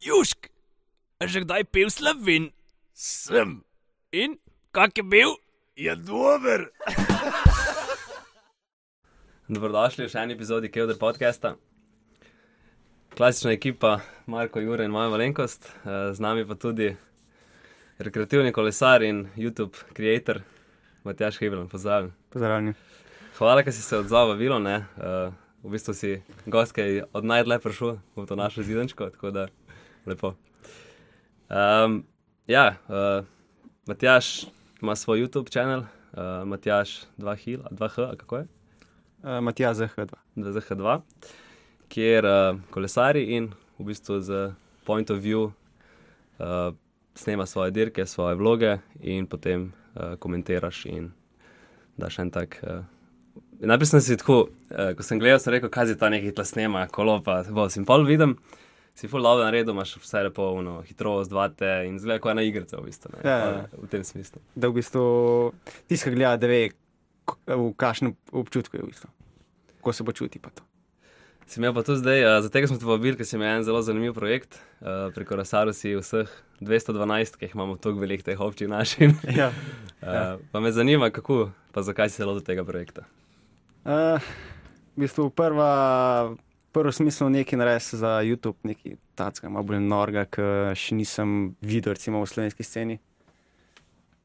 Južk, a že kdaj pil slovin? Sem. In kak je bil? Je dober. Dobrodošli v še eni epizodi Kevdr podcasta. Klasična ekipa, Marko Jure in moja malenkost, eh, z nami pa tudi rekreativni kolesar in YouTube creator Matjaš Hebelen, pozdravljen. Pozdravljeni. Hvala, ker si se odzval, vabilo. ne. Eh, V bistvu si gost, ki je od najdlje prišel v to našo zidančko, tako da lepo. Um, ja, uh, Matjaš ima svoj YouTube kanal, uh, Matjaš 2H, 2H, ali kako je? Uh, Matija ZH2. ZH2, kjer uh, kolesari in v bistvu z point of view uh, snema svoje dirke, svoje vloge in potem uh, komentiraš in daš en tak. Uh, Najprej sem si tako, uh, ko sem gledal, sem rekel, kaj je ta nekaj tla snema, kolo pa vse. In pol vidim, si full dobro naredil, imaš vse lepo, uno, hitrost, dvate in zgleda kot ena igrica v bistvu. ne. Ja, ja, ja. V tem smislu. Da v bistvu tiska gleda, da ve, k- v kakšnem občutku je v bistvu. Ko se počuti pa to. Si imel pa tu zdaj, uh, zato smo te povabili, ker si imel en zelo zanimiv projekt. Uh, preko Rasaru si vseh 212, ki jih imamo tako velik, teh občin naših. Ja. Uh, Eh, pa me zanima, kako, pa zakaj si se lotil tega projekta. Uh, v bistvu prva, prvo smisel nekaj narediti za YouTube, nekaj tacka, malo bolj norga, ki še nisem videl, recimo v slovenski sceni.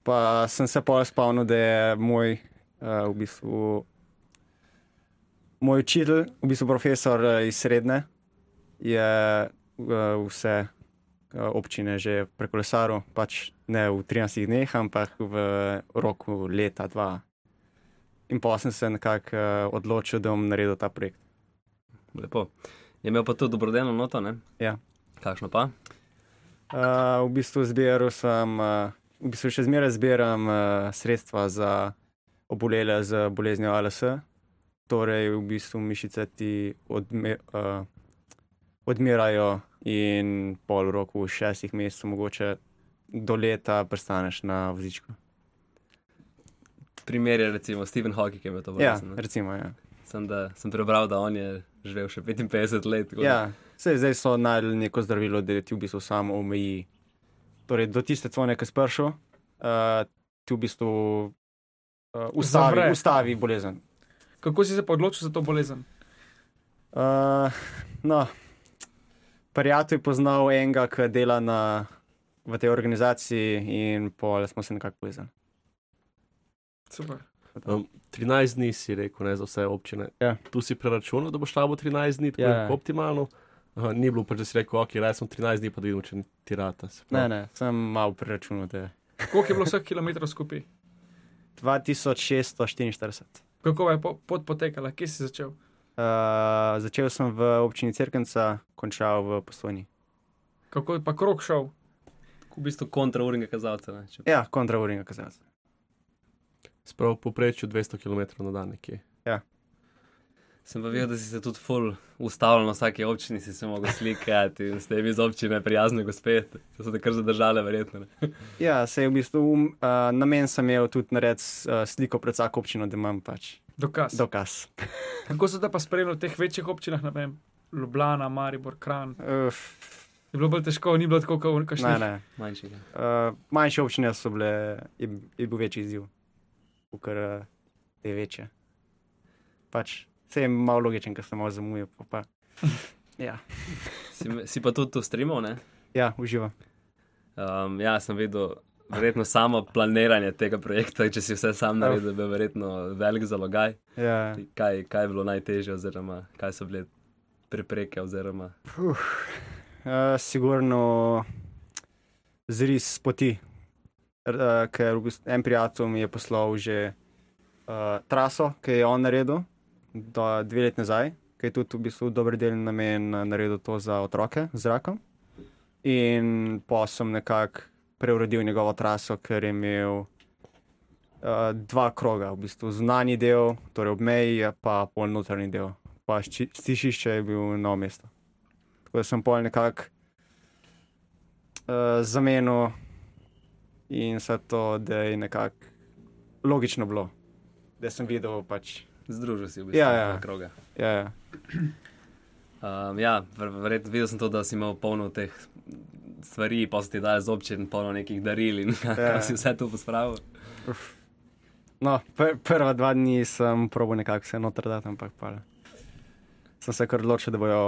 Pa sem se pa spomnil, da je moj, uh, v bistvu, moj učitelj, v bistvu profesor eh, iz srednje, je uh, vse uh, občine že prekolesaril, pač ne v 13 dneh, ampak v roku leta, dva, In pa sem se nekako uh, odločil, da bom naredil ta projekt. Lepo. Je imel pa tu dobrodelno noto, ne? Ja. Kakšno pa? Uh, v bistvu zbiral sem, uh, v bistvu še zmeraj zbiram uh, sredstva za obolele z boleznijo ALS, torej v bistvu mišice ti odme, uh, odmirajo in pol roku, šestih mesecev, mogoče do leta, prestaneš na vozičku. Primer je recimo Steven Hawking, ki je imel to Ja, bolezen. ne. recimo. Ja. Sem, da- sem prebral, da on je živel še 55 let. tako da- Ja, sej, zdaj so najdel neko zdravilo, da ti v bistvu samo omeji. Torej, do tiste cone, ki si prišel, uh, ti v bistvu uh, ustavi, Zavre. ustavi bolezen. Kako si se pa odločil za to bolezen? Uh, no, prijatelj je poznal enega, ki dela na, v tej organizaciji, in pol smo se nekako povezali. Super. Um, 13 dni si rekel, ne za vse občine. Ja. Tu si preračunal, da boš rabo 13 dni, tako Ja, ja. ja. optimalno. Aha, ni bilo pa, da si rekel, ok, raje sem 13 dni, pa da vidim, če ti rata. se No. pravi. Ne, ne, sem malo preračunal, da je Koliko je bilo vseh kilometrov skupaj? 2644. Kako je po, pot potekala, kje si začel? Uh, začel sem v občini Cerkenca, končal v Postojni. Kako je pa krok šel? V bistvu kontrauringa kazalca. ne, če- Ja, kontrauringa kazalca. Sprav poprečju 200 km na dan nekje. Ja. Sem pa videl, da si se tudi ful ustavljal na vsaki občini, si se mogel slikati in ste vi iz občine prijazni gospe. To so te kar zadržale, verjetno. Ne? Ja, se je v bistvu um, uh, namen sem imel tudi narediti uh, sliko pred vsako občino, da imam pač Dokaz. Dok. dokaz. Kako so te pa spremljali v teh večjih občinah, ne vem, Ljubljana, Maribor, Kran? Uf, Je bilo bolj težko, ni bilo tako, kot ne, kažeš. ne. Manjši. ja. Uh, manjše občine so bile, je, je bil večji izziv, kot uh, te večje. Pač se je malo logičen, ker sem malo zamujal. pa Pa. Ja, Si, si pa tudi tu streamal, ne? ja uživa. Um, ja, sem videl, verjetno samo planiranje tega projekta, če si vse sam naredil, bi verjetno velik zalogaj. Ja. Kaj, kaj je bilo najtežje, oziroma kaj so bile prepreke, oziroma Uh, sigurno zris poti, R, uh, ker v bistvu en prijatelj mi je poslal že uh, traso, ki jo je on naredil, da, dve leti nazaj, ki je tudi v bistvu dober del namen eh, naredil to za otroke z rakom. In pa sem nekako preuredil njegovo traso, ker je imel uh, dva kroga, v bistvu zunanji del, torej ob meji, pa pol notranji del. Pa šči- stišišče je bil na mestu. Tako da sem pol nekako uh, zamenil in vse to, da je nekako logično bilo, da sem videl pač. združil si v bistvu Ja, ja. kroga. Ja, ja. Um, ja, ver- verjetno videl sem to, da si imel polno teh stvari, pa si ti dal z občin, polno nekih daril in Ja. ja. si vse to pospravil. No, pr prva dva dni sem probo nekako se noter dati, ampak pa sem se kar odločil, da bojo,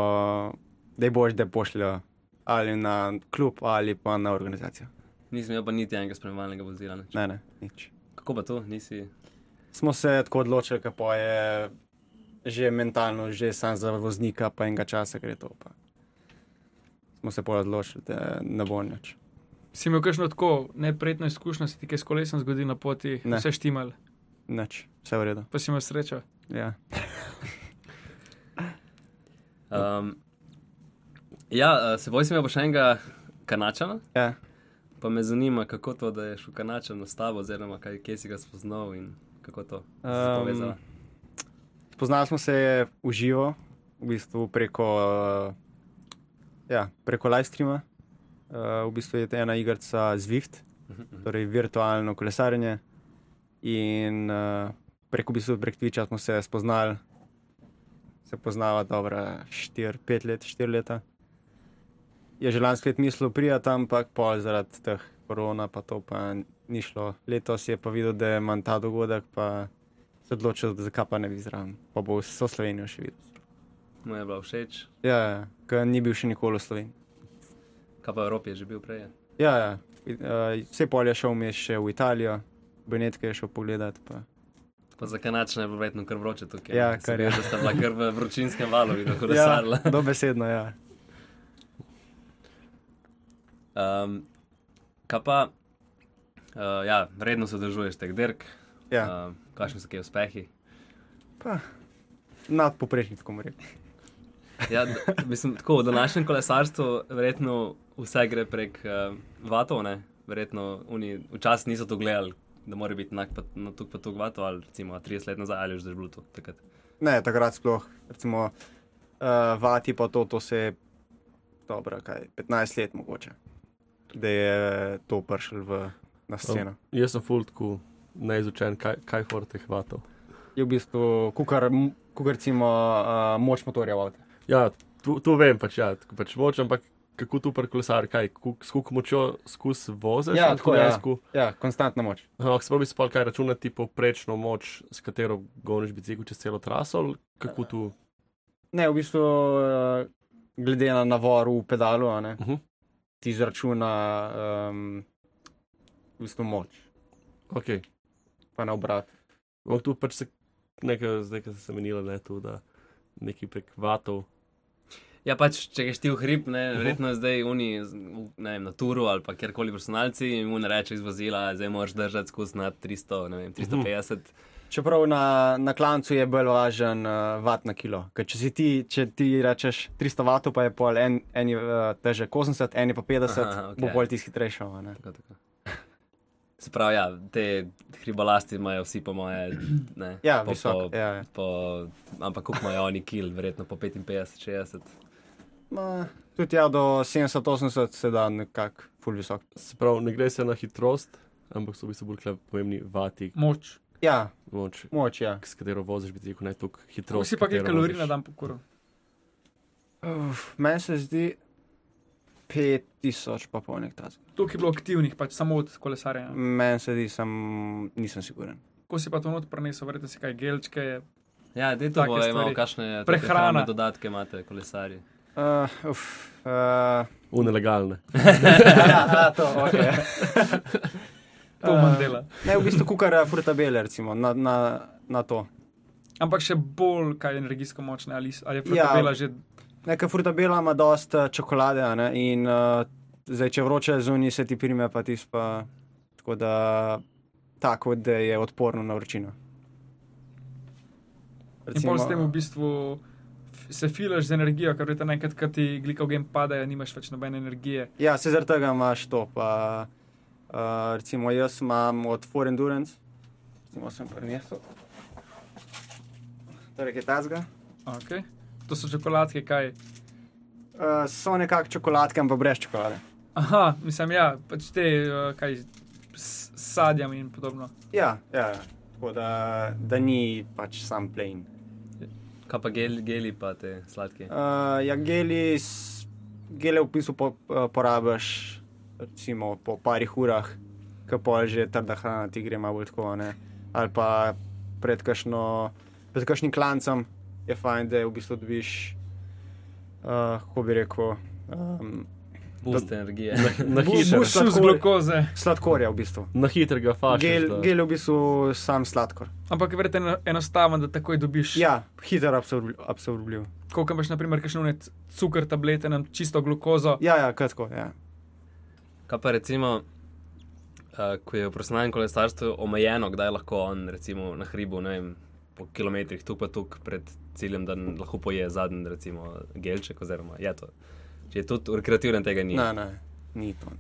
da je boš, da pošljajo ali na klub ali pa na organizacijo. Nisem imel pa niti enega spremljalnega vozila. nič. Ne, ne, nič. Kako pa to, nisi? Smo se tako odločili, kako je že mentalno, že sam za voznika, pa enega časa gre to. Pa. Smo se pol odločili, da ne bo nič. Si imel kakšno tako neprijetno izkušnjo, si ti kaj s kolesom zgodil na poti, Ne. ne. vse štimal, Nič, vse v redu. pa si imel srečo. Ja. Um, ja, eh, seboj sem imel pa še enega kanačana, Ja. pa me zanima, kako to, da je šel kanačan s tabo, oziroma kaj, kje si ga spoznal in kako to um, Ehm, povezalo. Spoznali smo se v živo, v bistvu preko, uh, ja, preko live streama. Uh, v bistvu je to ena igrica Zwift, torej virtualno kolesarjenje. In uh, preko, v bistvu, prek Twitcha smo se spoznali, se poznava dobro 4-5 let, 4 leta. Je že lansko leto mislil prijeti, ampak pol zaradi teh korona, pa to pa ni šlo. Letos je pa videl, da imam ta dogodek, pa se odločil, da zakaj pa ne bi zraven, pa bo vso Slovenijo še videl. Mu je bilo všeč, Ja, ja, ker ni bil še nikoli v Sloveniji. kaj pa v Evropi je že bil prej. ja? Ja, ja. I- eh, Vse polje šel vmes še v Italijo, Benetke je šel pogledat. Pa. Pa za kanačane je bilo verjetno kar vroče tukaj. Ja, Sem kar videl, je. Da sta bila kar v vročinskem valu, vidno, kot da ja. sarla. dobesedno, ja. Um, kaj pa, uh, ja, redno se držuješ teh dirk, ja. uh, kakšni so ti uspehi. Nadpoprečni, tako moram reči. Ja, d- mislim, tako, v današnjem kolesarstvu verjetno vse gre prek uh, vatov, ne? verjetno oni včasih niso to gledali, da mora biti enak pa, na tuk pa tuk vatov, ali recimo 30 let nazaj, ali že je bilo to takrat. Ne, takrat sploh, recimo, uh, vati pa to, to se je dobro, kaj 15 let mogoče, da je to prišlo v na sceno. Jaz sem fultku neizučen, kaj, kaj forte hvatov. Je v bistvu, kukar, kukar recimo, uh, moč motorja v avtu. Ja, tu, tu vem, pač, ja, tako pač moč, ampak kako tu prekolesar, kaj, kuk- s koliko močjo skus voziš, Ja, ali tako, ja. dejansko. Ja, konstantna moč. Aha, Ampak sploh bi se pa kaj računati povprečno moč, s katero goniš bicikl čez celo traso, ali kako tu. Ne, v bistvu, eh, glede na navor v pedalu, a ne, Uh -huh. ti izračuna um, v bistvu moč, okay. pa na obrat. Ampak tu pač se nekaj, zdaj ko sem se menila, ne tu, da neki prek vatov. Ja, pač, če greš ti v hrib, ne, verjetno je zdaj oni, z- v- ne vem, na turu ali pa kjerkoli personalci, jim mu ne reče iz vozila, zdaj moraš držati skozi na 300, ne vem, 350. Čeprav na, na klancu je bolj važen uh, vat na kilo. Ker če, si ti, če ti rečeš 300 vatov, pa je pol en, en je, uh, težek 80, en je pa 50, Aha, Aha, okay. bo okej. pol tisti hitrejši. a ne. Tako, tako. Se pravi, ja, te hribalasti imajo vsi po moje. Ne, Ja, po, visoko, Po, ja, ja. Po, ampak kako imajo oni kil, verjetno po 55, 60. Ma, Tudi ja, do 70-80 se da nekako ful visok. Se pravi, ne gre se na hitrost, ampak so v bistvu bolj tule pomembni vati, Moč. Ja, moč, moč je. Ja. s katero voziš bicikl, ne tu Kako hitrost. si pa kaj katero kalorij voziš. na dan pokuril? Uf, Meni se zdi 5000, pa polnik ta. Toliko je bilo aktivnih, pač samo od kolesarja. Meni se zdi, sem, nisem siguren. Ko si pa to not prenesel, verjetno si kaj gelčke, Ja, da je to Take boje, imamo stvari. kakšne Prehrana. prehrane, dodatke imate, kolesarji. Uh, uf, uh, V nelegalne. ja, to, okay. to Eh. manj dela. ne, v bistvu kukar frutabele, recimo, na, na, na to. Ampak še bolj kaj energijsko močne, ali, s- ali je Ja. frutabela ja. že Neka frutabela ima dost eh, čokolade a ne, in uh, zdaj, če vroče zunaj, se ti prime pa tisto. pa- Tako da tako, da je odporno na vročino. In pol s ja. tem v bistvu f- se filaš z energijo, ker veš, enkrat, ko ti glikogen pade, nimaš več nobene energije. Ja, se zaradi tega imaš to. Pa, uh, recimo, jaz imam od For Endurance, recimo, sem prenesel. Torej, kaj tazga. Okay. To so čokoladke, kaj. Uh, so nekako čokoladke, ampak brez čokolade. Aha, mislim, ja, pač te, eh, kaj s s sadjem in podobno. Ja, ja. ja. Tako da, da ni pač sam plain. Kaj pa gel, geli, pa te sladke. Uh, ja, geli, s- gele v bistvu po, uh, porabiš recimo, po parih urah, ki pa že trda hrana ti gre malo bolj tako. Ne? Ali pa pred, kašno, pred kašnim klancem je fajn, da v bistvu dobiš, uh, kako bi rekel, um, Boost energije. Na Bus- hitro, bus- Šel z Sladkorje. glukoze. sladkorja v bistvu. na hitro ga faš. Gel, gel je v bistvu sam sladkor. Ampak je verjetno enostaven, da takoj dobiš. Ja, hitro absorb- absorbljiv. Ko imaš, na primer, kakšne cukr tablete, nam čisto glukozo. Ja, ja, kratko. Ja. Kaj pa recimo, uh, ko je v prostornem kolesarstvu omejeno, kdaj lahko on recimo, na hribu, ne vem, po kilometrih tu pa tu pred ciljem, da n- lahko poje zadnji, recimo, gelček. Oziroma, je to. Če je tudi rekreativen, tega ni. Ne, ne, ni to.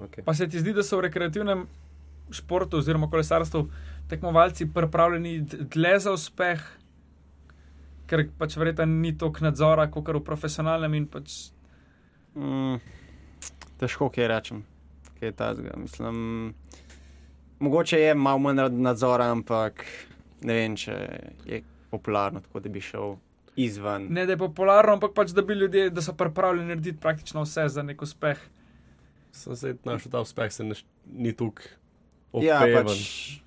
Okay. Pa se ti zdi, da so v rekreativnem športu oziroma kolesarstvu tekmovalci pripravljeni d- dlje za uspeh, ker pač verjetno ni toliko nadzora kot kar v profesionalnem in pač Mm, težko kaj rečem, kaj je tazga. Mislim, mogoče je malo manj nad- nadzora, ampak ne vem, če je popularno tako, da bi šel izven. ne da je popularno, ampak pač da bi ljudje, da so pripravljeni narediti praktično vse za nek uspeh. Sem se znašel, ta uspeh se ne, š- ni tukaj. ja, Opevan. pač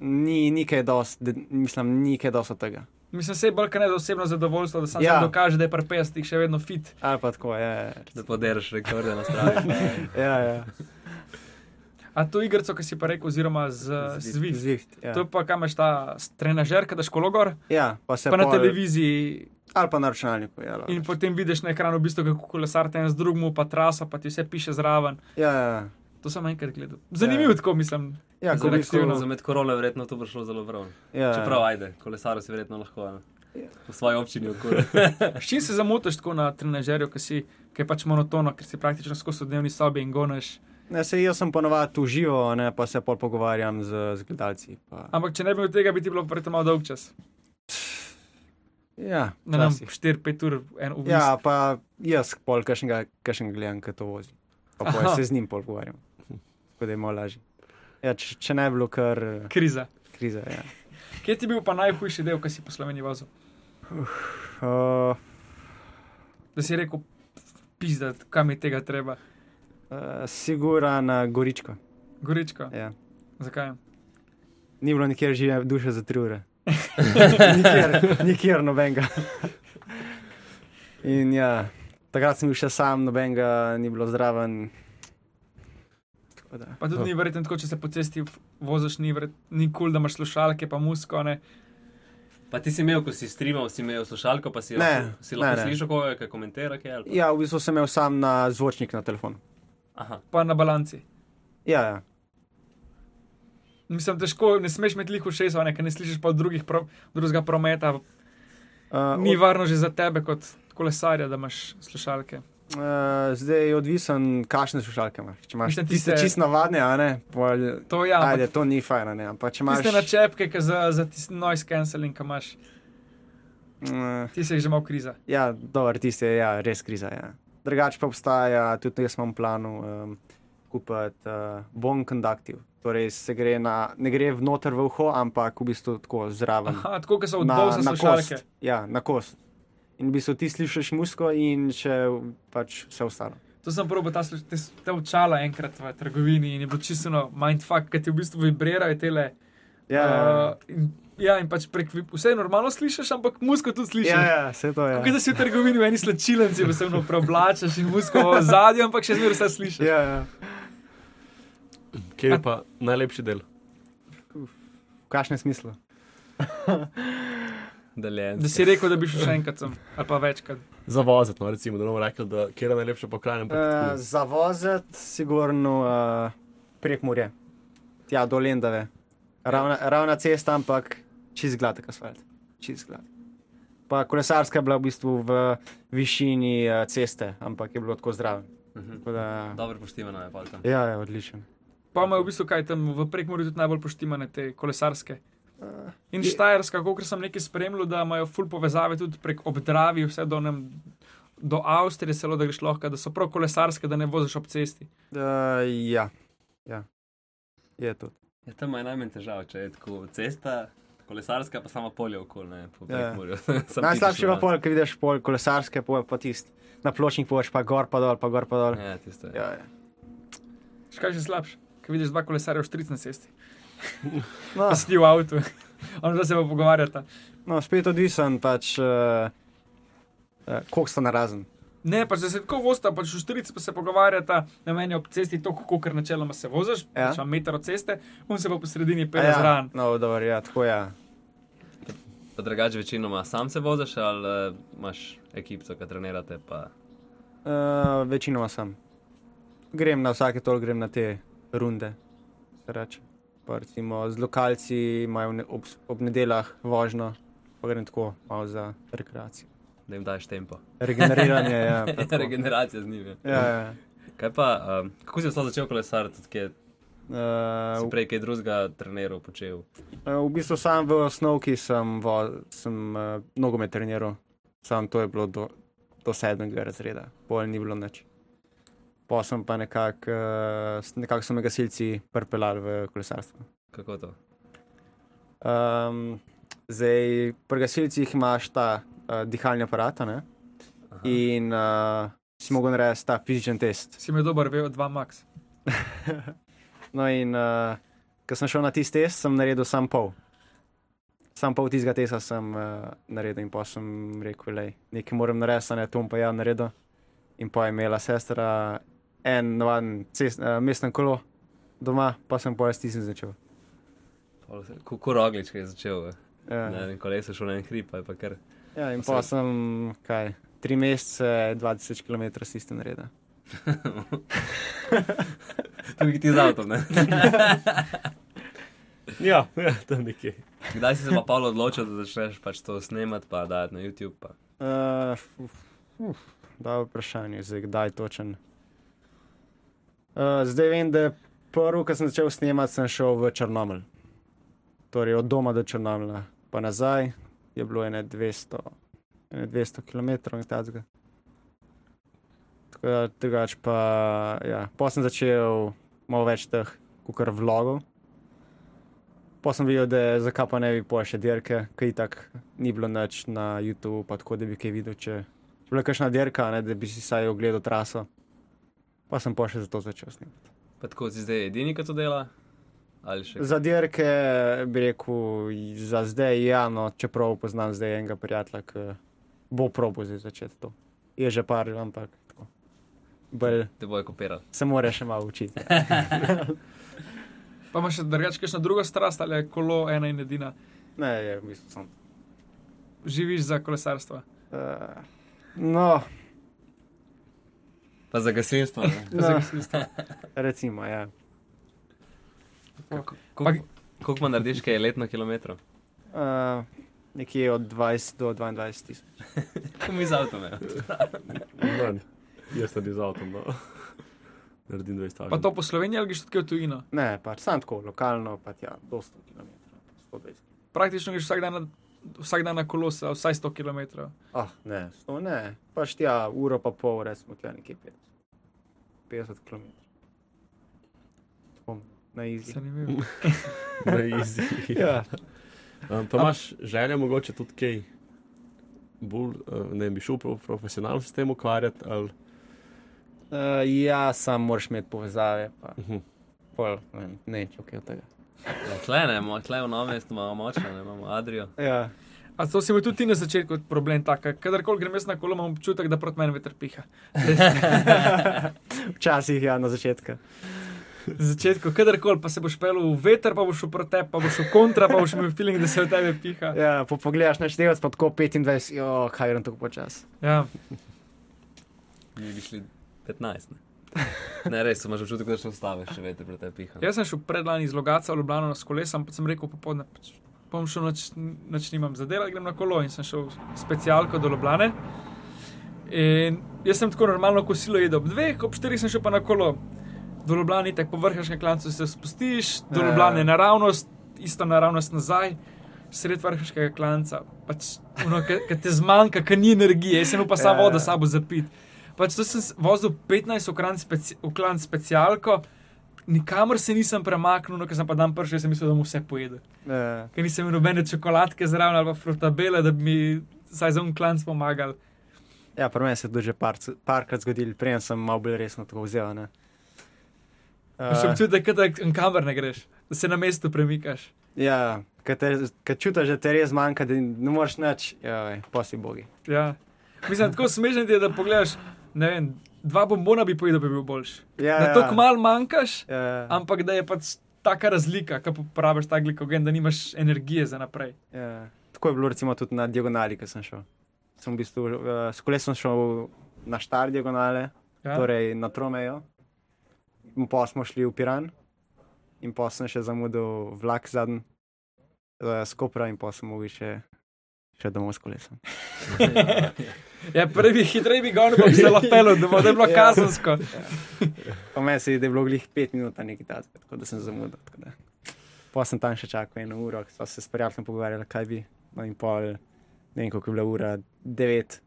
ni nekaj dosti, de- mislim, nekaj dosti od tega. Mislim, se je bolj kaj ne za osebno zadovoljstvo, da sam Ja. ja. dokaže, da je pri 50-ih še vedno fit. Ali pa tako, ja, Da poderiš rekorde na strani. ja. ja. A to igrico, ki si pa rekel, oziroma z Zwift. Zviht, ja. To je pa kam imaš ta s- trenažer, ki daš kologor, ja, pa se pa na pol- televiziji Ali pa na računalniku. Ja, lahko In rečeš. potem vidiš na ekranu, v bistvu, kako kolesarite en z drugim, pa trasa, pa ti vse piše zraven. ja, ja. To sem enkrat gledal. Zanimivo, Ja. tako mislim. ja, ko Za, v bistvu- rekreativno- za med korona je verjetno to prišlo zelo prav. ja, Čeprav, ajde, kolesar si verjetno lahko. Ne? V svoji občini okolje. S čim se zamotiš tako na trenažerju, ki si, ki je pač monotono, ker si praktično skozi v dnevni sobi in goneš. Ne, se jaz sem ponovadi tu živo, ne, pa se pol pogovarjam z, z gledalci. Pa. Ampak če ne bi od tega, bi ti bilo verjetno malo dolg čas. Ja, Na nam včasih. 4-5 ur, en ur. ja, pa jaz pol kašnega, kašnega gledam, ki to vozi. Pa pol Aha. se z njim pol pogovarjam. Tako da je malo lažje. Ja, če, če ne bi bilo kar eh, Kriza. kriza. Ja. Kje ti je bil pa najhujši del, ki si po Sloveniji vozil? Uh, Da si rekel, pizda, kam je tega treba. uh, sigura na goričko. Goričko, Ja. zakaj? Ni bilo nikjer žive duše za tri ure. nikjer, nikjer nobenega. In ja, takrat sem bil še sam, nobenega ni bilo zraven. Tako da. Pa tudi Ja. ni verjetno tako, če se po cesti v- voziš, ni verjetno nikoli, cool, da imaš slušalke, pa musko, ne. Pa ti si imel, ko si streamal, si imel slušalko, pa si Ne, lahko, si lahko ne, ne. slišal, ko je komentira kaj. ali pa- Ja, v bistvu sem imel sam na zvočnik na telefonu. Aha, pa na balanci. Ja, ja. Mislim, težko, ne smeš imeti lihu šesa, ne, ker ne slišiš pa drugih pro, drugega prometa. Uh, Ni varno že za tebe kot kolesarja, da imaš slušalke. uh, zdaj je odvisen, kakšne slušalke imaš. Če imaš Mislim, tiste tiste- čisto navadne, a ne, pol, To ja, ajde, ampak to ni fajn, a ne. Ampak če imaš. tiste načepke ki za, za tisti noise cancelling, ki imaš, Uh, ti si jih že imel kriza. ja, dobro, tiste je ja, res kriza. Ja. Drugače pa obstaja, tudi jaz imam v planu um, kupiti uh, bon conductive. Torej, se gre na, ne gre vnoter v uho, ampak v bistvu tako zraven. Aha, tako kot so odbovsa slušalke. kost. Ja, na kost. In v bistvu ti slišiš musko in še pač vse ostalo. To sem probil ta, sluš- te, s- te očala enkrat v trgovini in je bilo čisto no mindfuck, ker ti v bistvu vibrirajo tele. Ja, ja, ja. uh, in, ja in pač prek, vi- vse normalno slišiš, ampak musko tudi slišiš. Ja, ja, vse to je. Kot da si v trgovini v eni slačilenci, pa se vno preoblačaš in musko v zadju, ampak še zmeraj vse slišiš. Ja, ja. Kjer je pa najlepši del? V kakšnem smislu? deljen. Da si rekel, da bi šel še enkrat sem, ali pa večkrat. Za voziti, no, recimo, da bomo rekli, da kjer je najlepša pokrajina. ampak Uh, tako. za vozet, sigurno uh, prek Murje, tja do Lendave. Ravna, ravna cesta, ampak čez gladek asfalt. Čist gladek. Pa kolesarska je bila v bistvu v višini uh, ceste, ampak je bilo tako zdravo. Mhm. Da, Dobro poštivano je pa tam. ja, je odličen. Pa imajo v bistvu kaj tam v prekmorju tudi najbolj poštimane te kolesarske. Uh, In Je- Štajerska, kako sem nekaj spremljal, da imajo full povezave tudi prek obdravi, vse do, nem, do Avstrije, celo da greš lahko, da so prav kolesarske, da ne voziš ob cesti. uh, ja. ja, je to. Ja, tam je najmanj težav, če je tako cesta, Kolesarska pa sama polje okoli, ne po Ja. Prekmurju. Samo Najslabši tipično ja. je pa pol, ki vidiš pol kolesarske, pol pa tisti na pločnik, pojš pa gor, pa dol, pa gor, pa dol. Ja, tisto je. Ja, ja. Še kaj še slabš, ki vidiš dva kolesarja v štric na cesti, No, pa si ti v avtu, on zdaj se pa pogovarjata. no, spet odvisen, pač, uh, uh, koliko sta narazen. Ne, pa če se tako vosta, pač v štric pa se pogovarjata, na meni je ob cesti to, kako kar načeloma se voziš, Ja. ja. pač ima meter od ceste, on se pa po sredini A pere ja. ja, zraven. no, dobro, ja, tako ja. Pa drugače večinoma sam se voziš ali eh, imaš ekipo, ki trenirate, pa Uh, večinoma sem. Grem na vsake toliko, grem na te runde, se reče. Pa recimo z lokalci imajo ne, ob, ob nedeljah vožnjo, pa grem tako malo za rekreacijo. da jim daš tempo. Regeneriranje, ja. pa tako. Regeneracija z njimi. ja, ja. Kaj pa, um, kako si sploh začel kolesariti, Tudi kje Uh, si prej kaj drugega treniral, počel? Uh, V bistvu sam v osnovki sem, vo, sem uh, nogomet treniral, sam to je bilo do, do sedmega razreda, pol ni bilo nič. Pa sem pa nekako, uh, nekako so me gasilci pripeljali v kolesarstvo. Kako to? Um, zdaj, pri gasilcih imaš ta uh, dihalni aparat a ne? in uh, si mogel narediti ta fizičen test. Si mi dober, vejo, dva max. No, in uh, ko sem šel na tisti test, sem naredil sam pol. Sam pol tistega testa sem uh, naredil in pa sem rekel, da nekaj moram narediti, a ne to bom pa ja naredil. In pa je imela sestra en navaden cest, uh, mestno kolo doma, pa sem pa jaz tistim začel. Pol se- Kako roglič je začel? Ja. Na Ja, enem kolesu šel na en hrib, pa je pa kar. ja in pa sem kaj. Tri mesece, 20 km s tistim naredil. Tudi ti z avtom, ne? Ja, ja, tam nekje. Kdaj si se pa Pavel odločil, da začneš pač to snemati, pa dajati na YouTube? Pa. Uh, uf, da, vprašanje je, kdaj točen. Uh, zdaj vem, da je prvo, ko sem začel snemati, sem šel v Črnomelj. Torej, od doma do Črnomlja, pa nazaj je bilo ene 200, ene 200 km in tako. Tako da drugače pa, ja, pa sem začel malo več teh, kukar vlogov. Pa sem videl, da je zakaj pa ne bi pojel še dirke, ki tako ni bilo noč na YouTubu, pa tako da bi kaj videl, če je bila kakšna dirka, ne, da bi si saj ogledal traso. Pa sem pa še zato začel snemati. pa tako si zdaj edini, ki to dela? Ali še? Za dirke bi rekel, za zdaj ja, no, čeprav poznam zdaj enega prijatelja, ki bo probo zdaj začeti to. Je že par, ampak tako. Bolj Te bojo kopirali. se mora še malo učiti. Pa imaš še drugače kakšno drugo strast ali je kolo ena in edina. Ne, je v bistvu sem. Živiš za kolesarstvo. Uh, no, Pa za gasilstvo. ne? no, recimo, ja. Kako- Pa- koliko- Koliko manj narediš, kaj je letno kilometrov? Uh, nekje od 20 do 22 tisoč. Kako mi z avtom? ja. No, jaz sem z avtom. No. Naredim 20 Pa to po Sloveniji ali greš tudi kaj v tujino? Ne, pač sam tako lokalno, pa tja, do 100 km. 120. Praktično greš vsak dan na, vsak dan na kolo, sa- vsaj 100 km. Ah, ne, 100 ne, pač tja, uro pa pol, recimo tja nekje 50, 50 km. Tako, Na izi. Zanimivo. na izi. Ja. Um, pa imaš želje, mogoče tudi kaj, bolj, uh, ne bi šel prav profesionalno se s tem ukvarjati. Ali, Uh, ja, sam moraš imeti povezave, pa Mhm. pol, ne vem, ne, če kaj od tega. Ja, Klej ne, mo- klej v novem mestu imamo močno, ne imamo Adrijo. Ja, A to si imel tudi ti na začetku problem taka, kadarkoli grem jaz na kolo, imam občutek, da proti meni veter piha. včasih ja, na začetku. Na začetku, kadarkoli pa se boš pel v veter, pa boš šel proti, tebi, pa boš šel kontra, pa boš imel feeling, da se v tebe piha. Ja, po pogledaš naštevec, pa tako 25, jo, kaj je on tako počas. Ja, Mi bi šli 15. Ne, ne res, imaš občutek, da še ostaneš, če veter pred tebi piha. jaz sem šel predlani iz Logaca v Ljubljano s kolesom, pa sem rekel popodne, pač, bom šel noč, noč nimam za delo, grem na kolo in sem šel specialko do Ljubljane. In jaz sem tako normalno kosilo jedel ob dveh, ob štirih sem šel pa na kolo. Do Ljubljana tako povrhaš na klancu, se spustiš, do Ja. Ljubljana naravnost, isto naravnost nazaj. Sred vrhškega klanca, pač, ono, ki te zmanjka, ki ni energije, jaz sem imel pa samo Ja. vodo s sabo zapit. Pač to sem s- vozil 15 v klan, speci, v klan specialko, nikamor se nisem premaknil, no, ker sem pa dan prišel, jaz sem mislil, da mu vse pojede. Ja, Ker nisem imel nobene čokoladke zraven ali pa frutabele, da bi mi vsaj za un klanc pomagal. ja pri meni se je to že par, parkrat zgodilo, prej sem malo bolj resno to vzel. ne. Eh, Uh. Ja. Še občutek, je, da nikamor ne greš, da se na mestu premikaš. Ja, ki čutiš, da te res manjka, da ne moreš več, posi bogi. Ja. Mislim, tako smešen ti je, da pogledaš, ne vem, dva bombona bi pojedel, bi bil boljši. Ja, Da tako malo manjkaš, Ja, ampak da je pač taka razlika, ko porabiš ta glikogen, da nimaš energije za naprej. ja. Tako je bilo recimo tudi na diagonali, ko sem šel. Sem v bistvu, uh, s kolesom šel na štar diagonale, Ja? ja. torej na Tromejo. In pa smo šli v Piran, in pa sem še zamudil vlak zadnji, uh, skopra in pa sem mogel še, še domov s kolesom. Ja, prvi hitrej bi gonil, pa bi se lapelo, da bo da je Ja. bilo kazensko. Po meni se je da je bilo glih pet minut na neki dan, tako da sem zamudil. tako da. Pol sem tam še čakal eno uro, ko sva se s prijateljem pogovarjala, kaj bi. No in pol, ne vem koliko je bila ura, devet.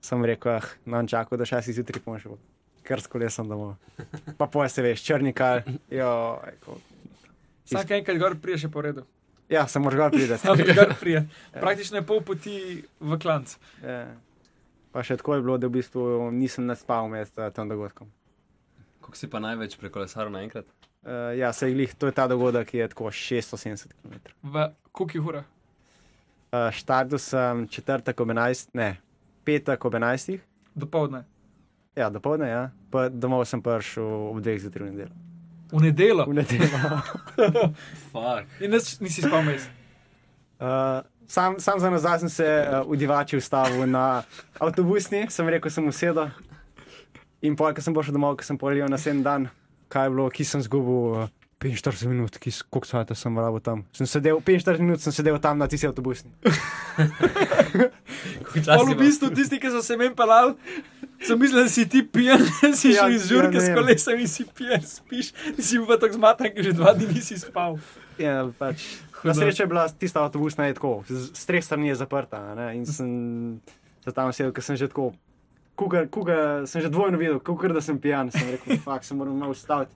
Sem rekel, ah, no, čakal do šestih zjutraj bom šel, ker s kolesom domov. Pa poje se veš, črnikal, jo. Eko. Vsak enkrat gor prije še po redu. Ja, sem moral gor priti. Ampak gor prije. Praktično je pol poti v klanc. Ja. Pa še tako je bilo, da v bistvu nisem naspal med eh, tem dogodkom. Kako si pa največ prekolesaril naenkrat? Uh, ja, se je glih, to je ta dogodek, ki je tako 670 km. V kuki hura. Uh, Štartil sem četrtek ob 11, ne, petek ob 11, Dopoldne. ja, dopoledne, ja. pa domov sem prišel ob 2 zjutraj v nedeljo. V nedeljo. V nedeljo. Fak. In nič nisi spomnil. Uh, sam, sam za nazaj sem se uh, udivačil, stavil na avtobusni, sem rekel, sem usedel. In pol, ko sem prišel domov, ko sem polil na sedem dan, kaj je bilo, ki sem zgubil. Uh, 45 minut, ki s- koliko sata sem rabo tam. Sem sedel, 45 minut sem sedel tam na tisti avtobusni. Pa v bistvu tisti, ki so se meni pelali, so mislili, da si ti pijan, da si Ja, šel iz žurke ja, s ne. kolesom in si pijan, spiš. Ti si bil pa tako zmatan, ker že dva dni nisi spal. Ja, pač, na Hudo. srečo je bila tista avtobusna je tako, z s treh strani je zaprta. a Ne? In sem se tam sedel, ker sem že tako, kuka, kuka, sem že dvojno videl, kuka, da sem pijan. Sem rekel, fakt, se moram malo ustaviti.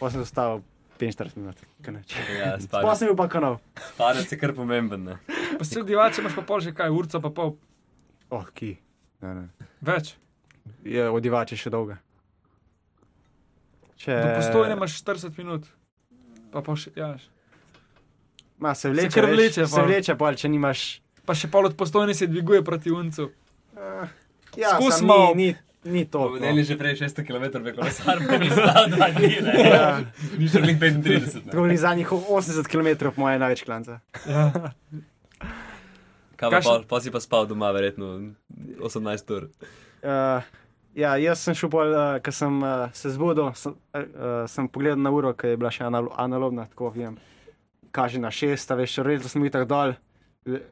Pa sem ustavil 45 minut, kaj neč. Ja, Pa sem bil pa kanal. spadec je kar pomemben. Ne? Pa se odivače imaš pa pol že kaj, urco pa pol Oh, ki. Ne, ne. več. Je odivač je še dolga. Če Do postojne imaš 40 minut. Pa, pa, še, ja. Ma, se vleče, Se kar veš, vleče se pol. vleče pol, če nimaš. pa še pol od postojne se dviguje proti uncu. Uh, ja, Skozi samo malo. ni, ni, ni to. no. Vodeli že prej 600 km prekolesaril, pa ni stal dva dni. ne. Ja. Ni še glih 35. ne. Tako ni zadnjih 80 km, po mojem, največ klanca. Ja. Kaj pa, Kakšen- pol- pol si pa spal doma, verjetno 18 ur. Uh, ja, jaz sem šel, pol, uh, ko sem uh, se zbudil, sem, uh, uh, sem pogledal na uro, ki je bila še analo analogna, tako vem. Kaže na šest, a veš, redno smo jih tako dol. Le-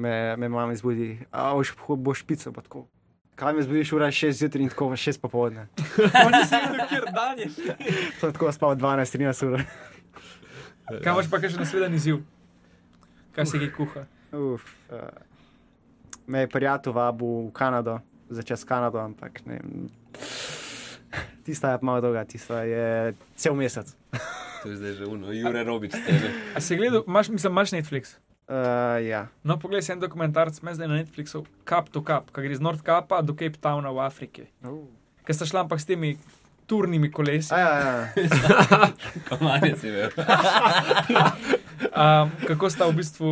Me, me mama zbudi, a boš, boš pico, pa tako. Kaj me zbudiš, ura je šest zjutraj in tako šest popovdne. Oni se vidijo, kjer dan je. Sem tako spal 12-13 ur. Kaj imaš pa še nasveden izziv? Kaj se ki kuha? Uf, uh, me je prijatelj vabil v Kanado, začel s Kanado, ampak ne vem. Tista je pa malo dolga, tista je cel mesec. To je zdaj že uno, Jure Robič. Tebe. A si gledal, imaš, mislim, imaš Netflix? Uh, ja. No, poglej si en dokumentarc, meni zdaj na Netflixu, Cap to Cap, ki gre iz North Capa do Cape Towna v Afriki. Uh. Ker sta šla ampak s temi turnimi kolesi. Ja, ja, ja. Komanje si imel. Um, kako sta v bistvu,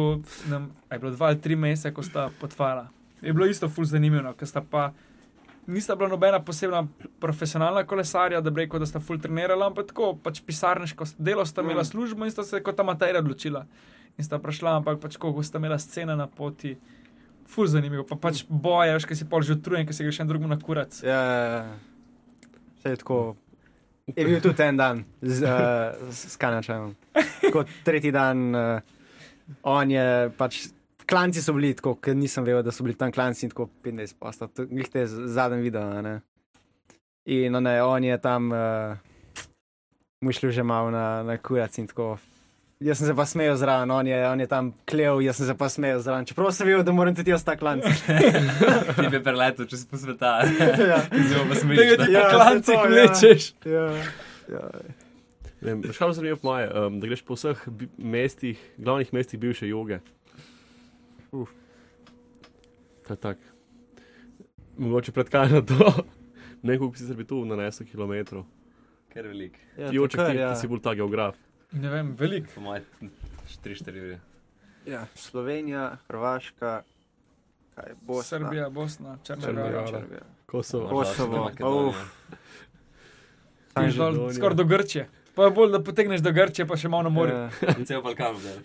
nam, a je bilo dva ali tri mesece, ko sta potvala. Je bilo isto ful zanimivo, ker sta pa, nista bila nobena posebna profesionalna kolesarja, da bi rekel, da sta ful trenirala, ampak tako, pač pisarniško delo sta imela službo in sta se kot amaterja odločila. In sta prišla, ampak pač kako sta imela scene na poti. Ful zanimivo, pa pač boje, veš, ki si pol že utrujen, ki si greš še drugemu na kurac. ja, ja, ja. Še tako. Je bil tudi en dan z, uh, s Kanačanom. Kot tretji dan, uh, on je pač. Klanci so bili tako, ker nisem vedel, da so bili tam klanci in tako 15 posta. Glej, te zadnji video. a Ne? In no, ne, on je tam, uh, mušlil že malo na, na kurac in tako. Jaz sem se pa smejal zraven, on je, on je tam klev, jaz sem se pa smejal zraven. Čeprav sem vedel, da moram tudi jaz ta klanc. Ti bi preletel čez po sveta. ja. Zelo pa smeješ. Tega ne. ti Ja, ja, saj klanci to, ja. vlečeš. Ja, ja. Ne vem, Veš, kaj me zanima po moje, um, da greš po vseh bi- mestih, glavnih mestih bivše joge. Uf. Ta tak. Mogoče predkažem to. Ne, koliko si bi tu nanesel kilometrov. Ker velik, Ja, Ja, Joček, tako, ti, ja. ja. ti si bolj ta geograf. Ne vem, velik. po mojem, 3-4 ure. Ja, Slovenija, Hrvaška, kaj bo Srbija, Bosna, Črna Črna Gora. Gora. Kosovo. Kosovo. uf. ja. Greš dol Makedonija. Skoraj do Grčije. Pa je bolj, da potegneš do Grčije, pa še malo na morju. Ja, In cel Balkan zdaj.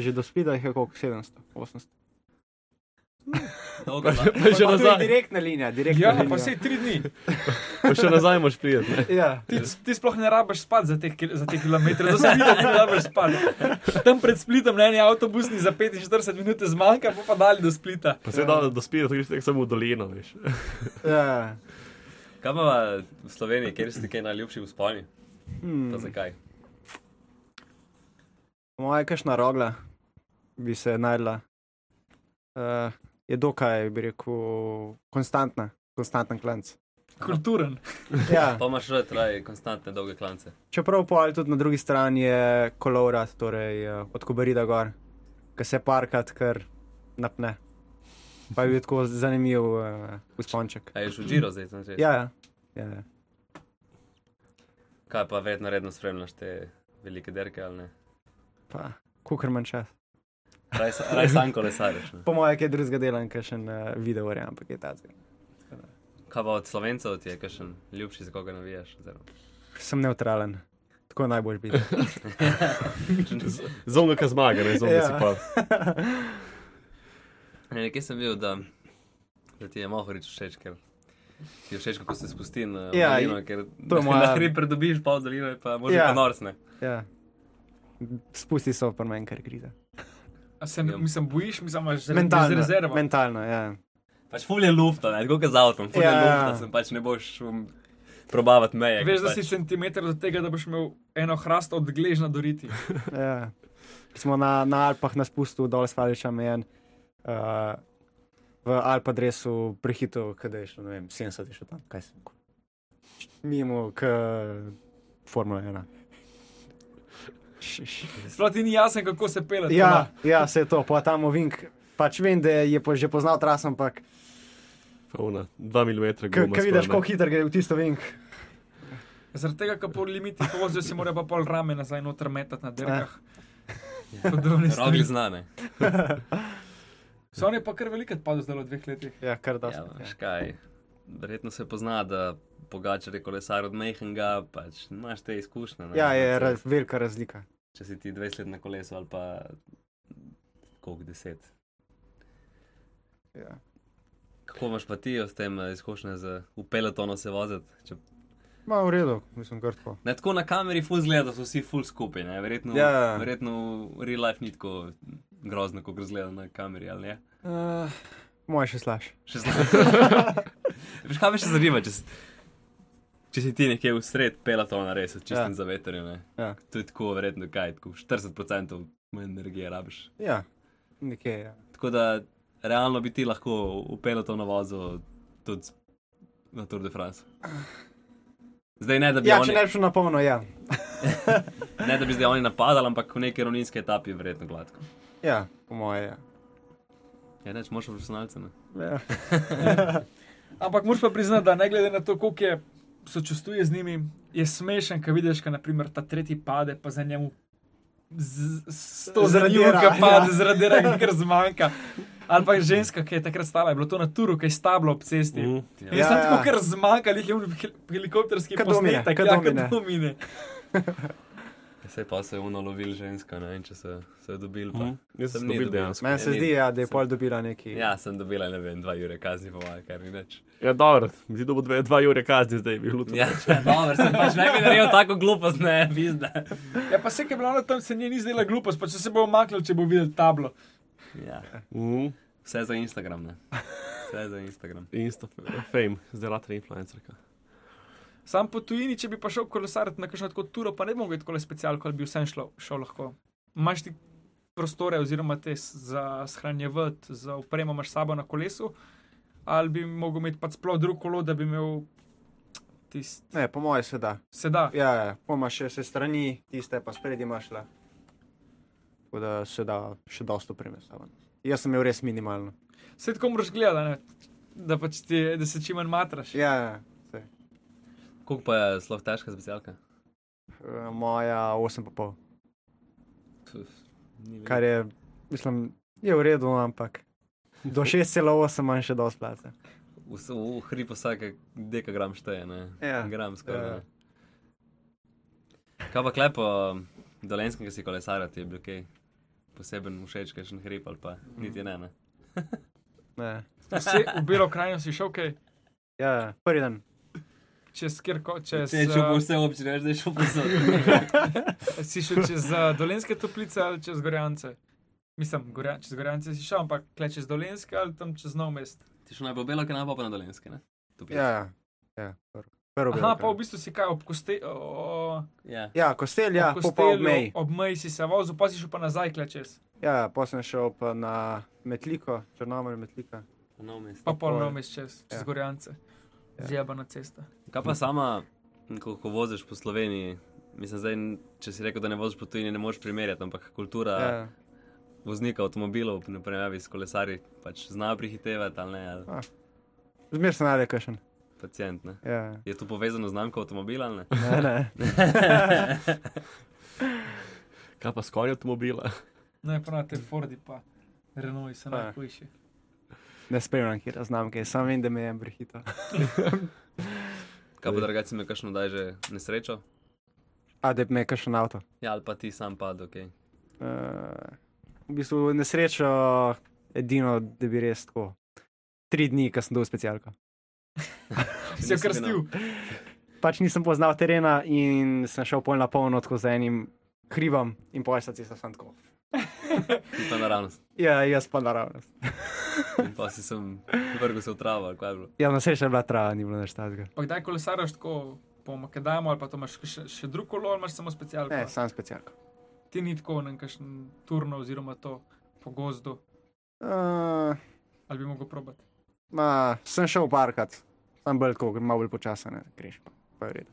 že do spida jih je koliko 700, 800. Dolgo, no. Pa Pa še to je nazaj, direktna linija, direktna Ja, linija. pa vse tri dni. pa še nazaj moraš priti. ne. Ja. Ti, ti sploh ne rabiš spati za te, kil- za te kilometre, zato se vidi, da ti ne rabiš spati. Tam pred splitom na eni avtobusni za 45 minut zmanjka, pa pa dalje do splita. Pa se da, da dospije, da greš tako samo v dolino, veš. ja. Kaj ima v Sloveniji, kjer si ti kaj najljubši v sponi? Hmm. Pa zakaj? Moja kašna rogla bi se najdla. Uh, je dokaj, bi rekel, konstantna, konstanten klanc. Kulturen. Ja. Pa imaš rad raje konstantne dolge klance. Čeprav pol tudi na drugi strani je kolorat, torej eh, od Kobarida gor, ki se parkat kar napne. Pa je bil tako zanimiv uh, usponček. A je žužiro zdaj, sem že. Ja, ja. ja. ja. Kaj pa vedno redno spremljaš te velike derke ali ne? Pa, kukar manj čas. Raj, sa- raj sam kolesariš. ne? Po mojem, kaj drugega delam, kaj še ne video, verjamem, ampak je ta zgolj. Kaj pa od slovencev ti je kakšen ljubši, za koga navijaš? oziroma? Sem neutralen, tako najbolj biti. Zonga, ki zmaga, ne zonga, Ja. ja. si pa. Ne, Nekje sem bil, da, da ti je Mohorič všeč, ker ti je všeč, kako se spusti na ja, Ja, dolino, ker to je moja- na hrib pridobiš, pa v dolino je pa možno Ja. ja. norsne. Ja. Spusti so pa meni kar kriza. A se mi sem bojiš, mi sem imaš rezervo. Mentalno, rezervo. mentalno, ja. Pač ful je lufta, ne, tako kot z avtom, ful ja. je Ja. lufta, sem pač ne boš um, probavati meje. Veš, da pač. si centimeter do tega, da boš imel eno hrast od gležna do riti. Ja. Ko Smo na, na Alpah na spustu dol spaliča mejen. Uh, v Alpa dresu prehitro, kaj je šlo, ne vem, 70 je šlo tam, kaj sem. rekel. Mimo, k Formula 1. Š- š- Sploh ti ni jasno, kako se pele. Ja, ja, se je to, pa tam ovink. Pač vem, da je po, že poznal trasom, ampak Pa ona, 2 mm. ko vidiš, kako hiter gre v tisto vink. Zaradi tega, ker po limiti vozijo, si mora pa pol rame nazaj noter metati na derkah. Eh. Podobne Rogli stvari. znane. So oni pa kar velikrat padli zdaj v dveh letih. Ja, kar da. Ja, veš kaj, verjetno se pozna, da pogače je kolesar od Mehenga, pač imaš te izkušnje. ne. Ja, je Če- raz, velika razlika. Če si ti 20 let na kolesu ali pa koliko 10. Ja. Kako imaš pa ti s tem eh, izkušnje z v pelotonu se voziti? Če, Ma v redu, mislim, kar tako. ne tako na kameri ful zgleda, da so vsi ful skupaj, ne? Verjetno, Ja. verjetno v real life ni tako grozno, kot zgleda na kameri, ali ne? Uh, Moje še slaš. Še zla. Veš, kaj me še zanima, če si, če si ti nekje v sred pelotona res, čistim Ja. ja. za veterje, ne? Ja. To je tako verjetno kaj, tako 40% manj energije rabiš. Ja, nekje. Ja. Tako da realno bi ti lahko upelo to navazo tudi s- na Tour de France. Zdaj ne, da bi, Ja, oni, če ne bi šel na polno, ja. ne. ne, da bi zdaj oni napadali, ampak v neki ravninski etapi verjetno gladko. Ja, po moje. Ja. Ja, neč, moš profesionalce, ne. Ja. Ampak moraš pa priznati, da ne glede na to, koliko je sočustvuje z njimi, je smešen, ko vidiš, da naprimer ta tretji pade, pa za njemu z- s- sto Zradira, zrnjivka pade, ja. zaradi tega, ker zmanjka. Ali pa ženska, ki je takrat stala, je bilo to na turu, ki je stablo ob cesti. Mm. Ja. Jaz sem Ja, tako, ja. ker zmanjka, ali je v hel- helikopterski Ke domine, posnetek, ke ja, domine. kot domine. Sej Ja, pa se je unalovil ženska, ne vem, če se, se je dobil. Pa. Mhm. Jaz sem ni dobil dobil. dejansko. Meni se Ja, ni- zdi, ja, da je pol dobila neki. Ja, sem dobila, ne vem, dva jure kazni, pa malo, kar ni več. Ja, dobro, mi zdi, da bo 2 ure kazni zdaj bilo. to. Ja, dobro, sem pač ne bi naredil tako glupost, ne, pizda. Ja, pa se je bilo tam, se njej ni zdela glupost, pa če se bo omaknil, če bo videl tablo. Ja. Mhm. Vse za Instagram, ne. Vse za Instagram. Insta fame, zdaj rata influencerka. Sam po tujini, če bi pa šel kolesariti na kakšno tako turo, pa ne bi mogel tako specialko, ali bi vsem šlo, šel lahko. Imaš ti prostore, oziroma te s- za shranjevati, za opremo pač imaš s sabo na kolesu, ali bi mogel imeti pa sploh drug kolo, da bi imel tisti. Ne, po mojem se da. Se da. Ja, ja, pa imaš še se strani, tiste pa spredi imaš le. Tako da se da še dosto primesavan. Jaz sem imel res minimalno. Vse tako moraš gledati, da, pač ti, je- da se čim manj matraš. Ja, ja, saj. Koliko pa je zelo težka specialka? Eh, moja 8,5, Pf, ni veliko. kar je, mislim, je v redu, ampak do 6,8 manj še dosti placa. Vse- V hribu vsake dekagram šteje, ne? Ja. Gram Ja. skoraj. Ja. Kaj pa klepo dolenskega si kolesarja, ti je bil kaj poseben všeč, kakšen hrib ali pa niti ne, ne. Ne. Vse v Belo krajino si šel, kaj, Ja, ja, prvi dan. čez kirko, čez. Se je šel po eh, vse občine, veš, da je šel po vse. Si šel čez uh, dolenske toplice ali čez Gorjance? Mislim, gorja, čez Gorjance si šel, ampak kle čez dolenske ali tam čez nov mest. Ti šel najbolj belo, kaj najbolj pa na dolenske, ne? Toplice. Ja, ja, ja prvo. prvo Aha, bilo, pa v kar. bistvu si kaj ob koste... O, o, Ja. Ja, kostelj, ja, ob po pa ob meji. ob meji si se vozil, pa si šel pa nazaj kle čez. Ja, pa sem šel pa na Metliko, Črnomor Metlika. Nov mest. Pa pol je. nov mest čez, čez Ja. ja. Gorjance. Ja. Ja. Zjebana cesta. Kaj pa sama, ko, ko voziš po Sloveniji, mislim, zdaj, če si rekel, da ne voziš po tujini, ne moreš primerjati, ampak kultura ja. Ja, voznika avtomobilov, ne primerjavi s kolesarji, pač znajo prihitevati ali ne, ali A. zmer sem najde kašen. pacijent. Ne. Ja, Je to povezano z znamko avtomobila ali ne? ne, ne. Kaj pa skoraj avtomobila? Naj No, pa na te Fordi pa Renault so Pa ja. najhujši. Ne spremljam, kje znamke, samo vem, da me je brehito. Kaj pa drugače si me kakšno daj že nesrečo? A da bi me kakšen avto. Ja, ali pa ti sam padel, ok. Uh, v bistvu nesrečo, edino, da bi res tako. Tri dni, ko sem dol specialko. Si jo krstil. Pač nisem poznal terena in sem šel pol na polno tako za enim hrivom in pol se cesta sem tako. Ti pa naravnost. Ja, jaz pa naravnost. In pa si sem vrgel se v travo, ali kaj je bilo. Ja, nesreča je bila trava, ni bilo nič takega. Pa kdaj kolesaraš tako po Makedamu ali pa to imaš še, še drug kolo ali imaš samo specialko? Ne, sam specialko. Ti ni tako na kakšen turno oziroma to po gozdu Uh, ali bi mogel probati. ma, sem šel parkat, sem bolj tako, malo bolj počasen, greš pa. pa je v redu.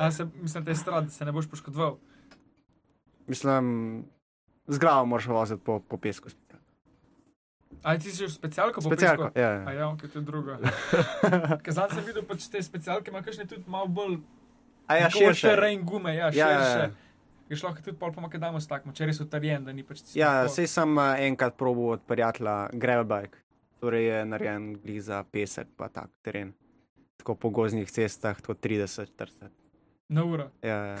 A se, mislim, da je strada, da se ne boš poškodoval. Mislim, z glavo moraš voziti po, po pesku. A ti si že v specialko po Specialko, pesku? ja, ja. A ja, ok, to je drugo. Kazan sem videl, pač te specialke ima kakšne tudi malo bolj A ja, tako širše. teren gume, ja, Ja, ja, ja. širše. Je šlo tudi pol po Makedamu s takom, če je res utrjen, da ni pač tisto. Ja, tako- sej sem eh, enkrat probil od prijatelja Gravelbike, torej je narejen glih za pesek, pa tak teren. Tako po gozdnih cestah, tako 30, 40. Na uro, Ja, ja.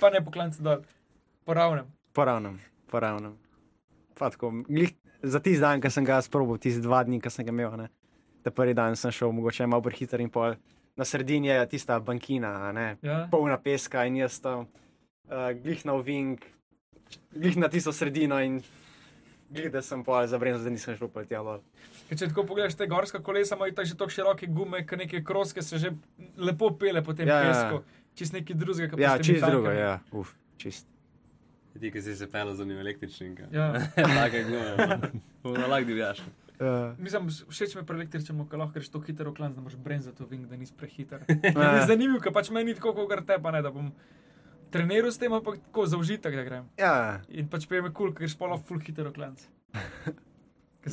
pa ne poklanci dol, poravnem. poravnem, poravnem. Pa tako, glih, za tisti dan, ki sem ga sprobil, tisti dva dni, ki sem ga imel, ne. Ta prvi dan sem šel, mogoče malo prehiter in pol. Na sredini je tista bankina, a ne, Ja. polna peska in jaz tam, uh, glih na ovink, glih na tisto sredino in glih, da sem pol zabrenil, da nisem šel ja, po telo. Ker če tako pogledaš te gorska kolesa, imajo tako že tako široke gume, kot neke kroske se že lepo pele po tem Ja, ja, ja. pesku. Čist neki drugega, pač kot Ja, čist drugo, ja, uf, čist. Ja, Ti, ki si se pel za njim električnim. ja. Tako je bilo. Lahko divjaš. Uh, Mislim, vš- všeč mi je pri električnem, ker lahko greš tako hitro v klan, da moraš brenzati v vink, da nisi prehiter. Ja. ja, Zanimivo, ker pač meni ni tako, kot gre tepa, ne, da bom treniral s tem, ampak tako za užitek, da grem. ja, In pač pejme kul, cool, ker greš polo full hitro v klan. Ker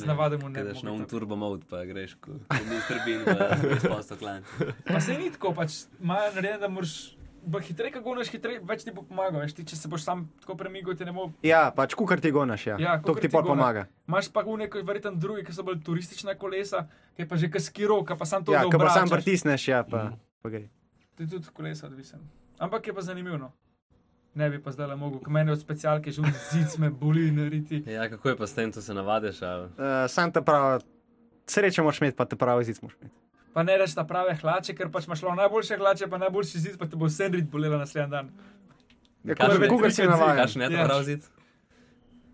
Ja, se navadim v Ne, daš na nekaj. un turbo mode, pa greš, ko ti strbin, pa greš pa sto klan. Pa se ni tako, pač imajo narejeno, da moraš. Hitreje, kako gonaš, hitreje, več ti bo pomagal. veš, Ti, če se boš sam tako premigal, ti ne bo ja, pač kukar ti gonaš, ja. Ja, to kakor ti ti pol gonaš. pomaga. Imáš pa v nekoj verjetno drugi, ki so bolj turistična kolesa, ki je pa že kaskiro, ki pa sam to Mhm. Ja, ko dobro. pa sam pritisneš, ja, pa, pa gre. Ti tudi kolesa odvisen. Ampak je pa zanimivo. no. Ne bi pa zdaj le mogel, ko meni od specialke že un zid me boli nariti. Ja, kako je pa s tem, to se navadiš? Ali... Uh, sam te pravi, srečo moraš imeti, pa te pravi zid moraš imeti. Pa ne reč na prave hlače, ker pač imaš šlo najboljše hlače, pa najboljši zid, pa te bo vse rit bolela naslednji dan. Ja, Kakšen- kakor- kakor si kakšen- navajen. Kakšen je to Ja. prav zid?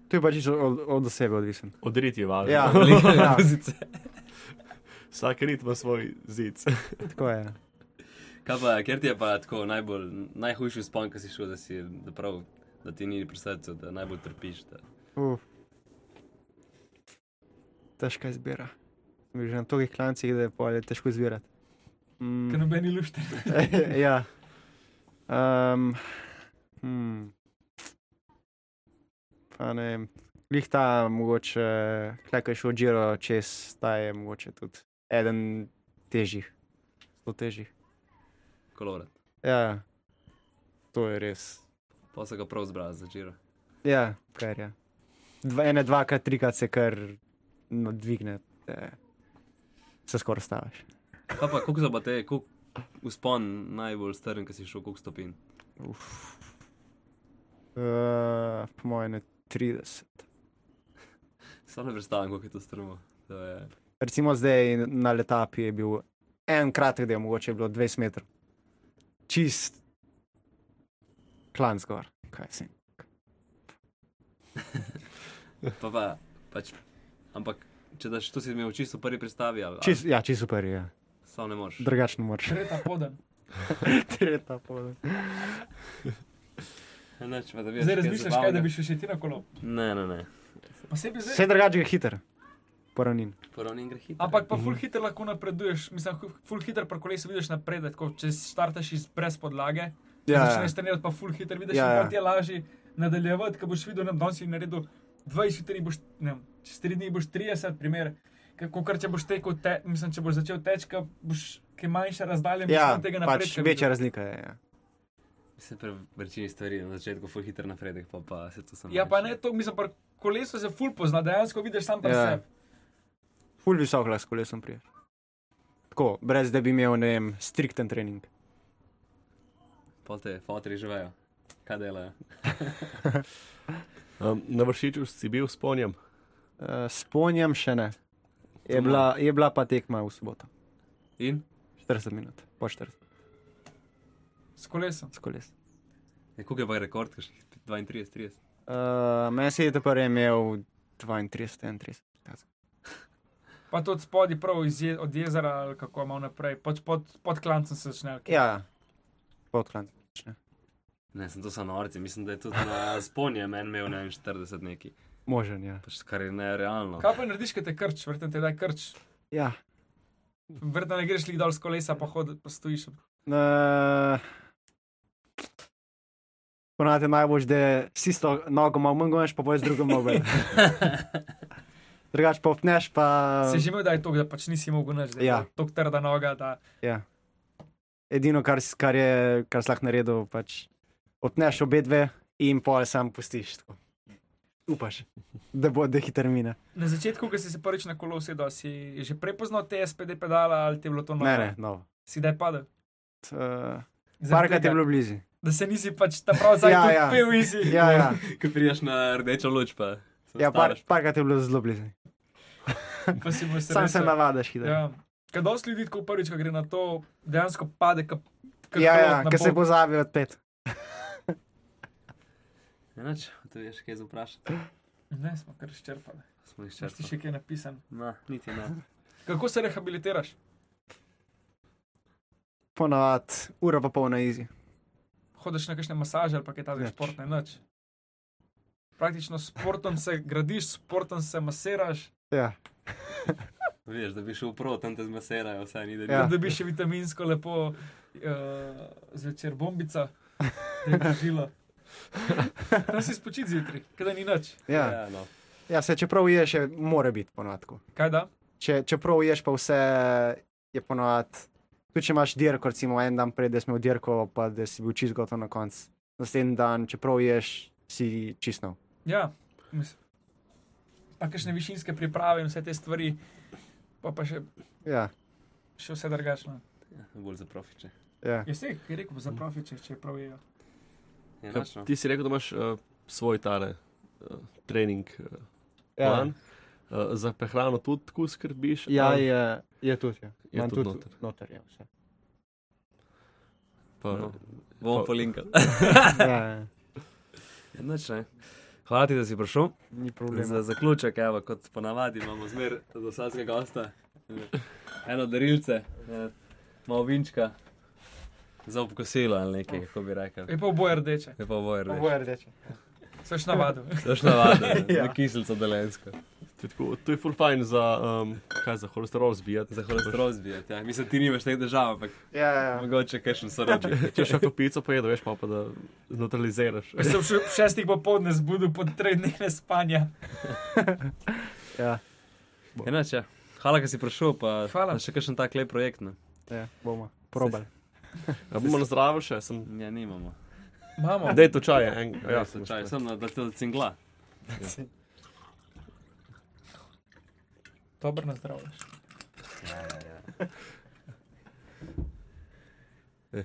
To je pač čisto od, od osebe odvisen. Odriti je važno. Ja, ja, Ja. Vsak rit ima svoj zid. tako je. ja. Kaj pa, ker ti je pa tako najbolj, najhujši spon, ki si šel, da, si, da, prav, da ti ni pri srcu, da najbolj trpiš. Da. Uf. Težka izbira. Sem bil že na tolikih klancih, da je pol je težko izbirati. Mm. ker noben ni lušten. ja. Um, hmm. Pa ne vem. Glih ta, mogoče, kaj ko je šel Giro čez, ta je mogoče tudi eden težjih, zelo težjih. Kolorat. Ja, to je res. Pa se ga prav zbral za Giro. Ja, kar je. Dva, ene, dvakrat, trikrat se kar no, dvigne, eh, se skoraj staviš. Kaj pa, koliko so pa te, koliko uspon najbolj strn, ki si šel, koliko stopinj? Uh, po mojem, ne 30. Sam ne predstavljam, koliko je to strmo. To je recimo zdaj na letapi je bil en kratek del, mogoče je bilo 20 metrov. Čist, klan zgor, kaj si. pa, pa, pač, ampak, če daš, to si imel čisto v prvi predstavi, ali, Čist, ja, čist super je, ja. ali sam ne moreš. drugačno moraš. Treta podan. Tretja pola. Neč, pa, da bi Zdaj razmišljaš, kaj da bi šel še ti na kolo. Ne, ne, ne. Posebej zdaj. Vse drugače je hiter, poravnin. Poravni gre hitro. Ampak pa full Mhm. hitro lahko napreduješ, mislim, full hitro pri kolesu vidiš napredek, ko če startaš iz brez podlage, ja, začneš trenirati pa full hitro, vidiš, Ja, da ja. ja. ti je lažje nadaljevati, ko boš videl, da danes si naredil 20, jutri boš, ne vem, čez 3 dni boš 30, primer, kako kar če boš tekel, te, mislim, če boš začel teči, ka boš kaj manjše razdalje, boš Ja, manj tega pač napredka. večja videl. razlika je. Ja. Se pri večini stvari na začetku ful hiter napredek, pa pa se to samo. Ja, pa ne, to mislim, pri kolesu se full pozna, dejansko vidiš sam pri Ja. ja. sebi. Ful visok lahko kolesom priješ. Tako, brez da bi imel, ne vem, strikten trening. Pa te fotri živejo. Kaj delajo? Um, na vršiču si bil sponjem, Uh, Sponjam še ne. Je To bila, je bila pa tekma v soboto, In? 40 minut, po 40 S kolesom. s kolesom. Je kuk Ja, je pa rekord, kakšnih 32, 30. Uh, Meni se je to prvi imel 32, 31. Pa tudi spodaj, prav iz je, od jezera, ali kako malo naprej, pod, pod, pod klancem se začne. ali kaj. Ja, podklan. Ne, sem to samo norci, mislim, da je tudi na sponje meni imel ne vem, 40 neki. Možen, ja. Pač kar je nerealno. Kaj pa narediš, ko te krč, vrten te da krč, ja. vrten ne greš lik dol s kolesa, pa hodiš, pa stojiš. Uh, Ponavadi je najbolj, da si s to nogo malo manj goniš, pa boš z drugo nogo. Drugač pa opneš, pa. Si že imel, da je to, da pač nisi mogel nač, da je Um, Ja. to trda noga, da Ja. Edino, kar, s- kar je, kar si lahko naredil, pač opneš obe dve in pol sam pustiš. Tako. Upaš, da bo dehitarmina. na začetku, ko si se prvič na kolo usedel, si že prepoznal te SPD pedala ali ti je bilo to novo? Ne, ne, no. Si daj padel. Uh, Zaradi Parkrat je tega, bilo blizu. Da se nisi pač ta prav zdaj Ja, ja, ja. ja. pil in si. Ja, ja. Ko prideš na rdečo luč, pa se Ja, par, ustavljaš. parkrat je bilo zelo blizu. Pa si boš Sam se resel. navadiš, hitro. Ja. Kaj dosti ljudi, ko prvič, ko gre na to, dejansko pade, ka, ka Ja, kolot ja, na ker se pol. pozabi odpet. Enač, Ja, to veš, kaj za vprašati. Ne, smo kar izčrpali. Smo jih Če ti črpali. še kaj napisan. No, niti ne. Kako se rehabilitiraš? Ponovadi ura pa pol na izi. hodiš na kakšne masaže ali pa kaj takega, Nič. športne noč. Praktično s športom se gradiš, s športom se masiraš, Ja. Vidiš, da bi šel prav, tam te zmaserajo, vsaj ni da bi. Ja. ja. dobiš še vitaminsko lepo uh, zvečer bombica, da je žila. Tam si spočit zjutraj, kaj da ni nič. Ja. no. ja, se čeprav ješ, je, mora biti ponovadi. tako. Kaj da? Če, čeprav ješ pa vse, je ponovadi. Tudi če imaš dirko, recimo en dan prej, da si imel dirko, pa da si bil čist gotov na koncu. Naslednji dan, čeprav ješ, si čistno. Ja, mislim. Pa kakšne višinske priprave in vse te stvari, pa pa še, Ja, še vse drugačno. Ja, bolj za profiče. ja. Jaz se, kaj rekel, za profiče, če prav je. Enač, no. ti si rekel, da imaš uh, svoj tale uh, trening uh, ja. plan. Uh, za prehrano tudi tako skrbiš? ja ali je, je tudi. Ja. je Imam tudi noter. noter je vse. Pa, No. Bomo Pa- polinkali. Ja, ja. Enač, Ja, ne. Hvala ti, da si prišel. Ni Za problema. zaključek, evo, kot ponavadi, imamo zmer za vsakega gosta eno darilce, eh, malo vinčka za obkosilo ali nekaj, kako bi rekel. Je pa oboje rdeče, Je pa bojer, Oboje rdeče. se še navadil. Točno vadno, Ja. na kislico delensko. To je tako- To je full fajn za, um, kaj, za holesterol zbijati. Za holesterol zbijati. Ja. Mislim, ti nimaš teh držav, ampak Ja, É. ja. mogoče kakšen sorodnik. Če še kako pico pojedo, veš pa, pa da zneutraliziraš. Jaz sem še ob šestih popovdne zbudil po treh dneh nespanja. ja. Enače, ja. hvala, da si prišel, pa Hvala. pa še kakšen tak lep projekt. Ne? ja bomo. Probal. Ja, bomo nazdravili še, sem. Ja, nimamo. Imamo. Dej to čaje, en, Ja, ja, slučaj, sem na delu cingla. Dobro nazdravljaš.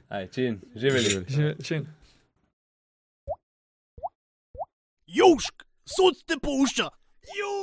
Aj, čin, živeli. Že čim. Južk, sod te pušča. Južk.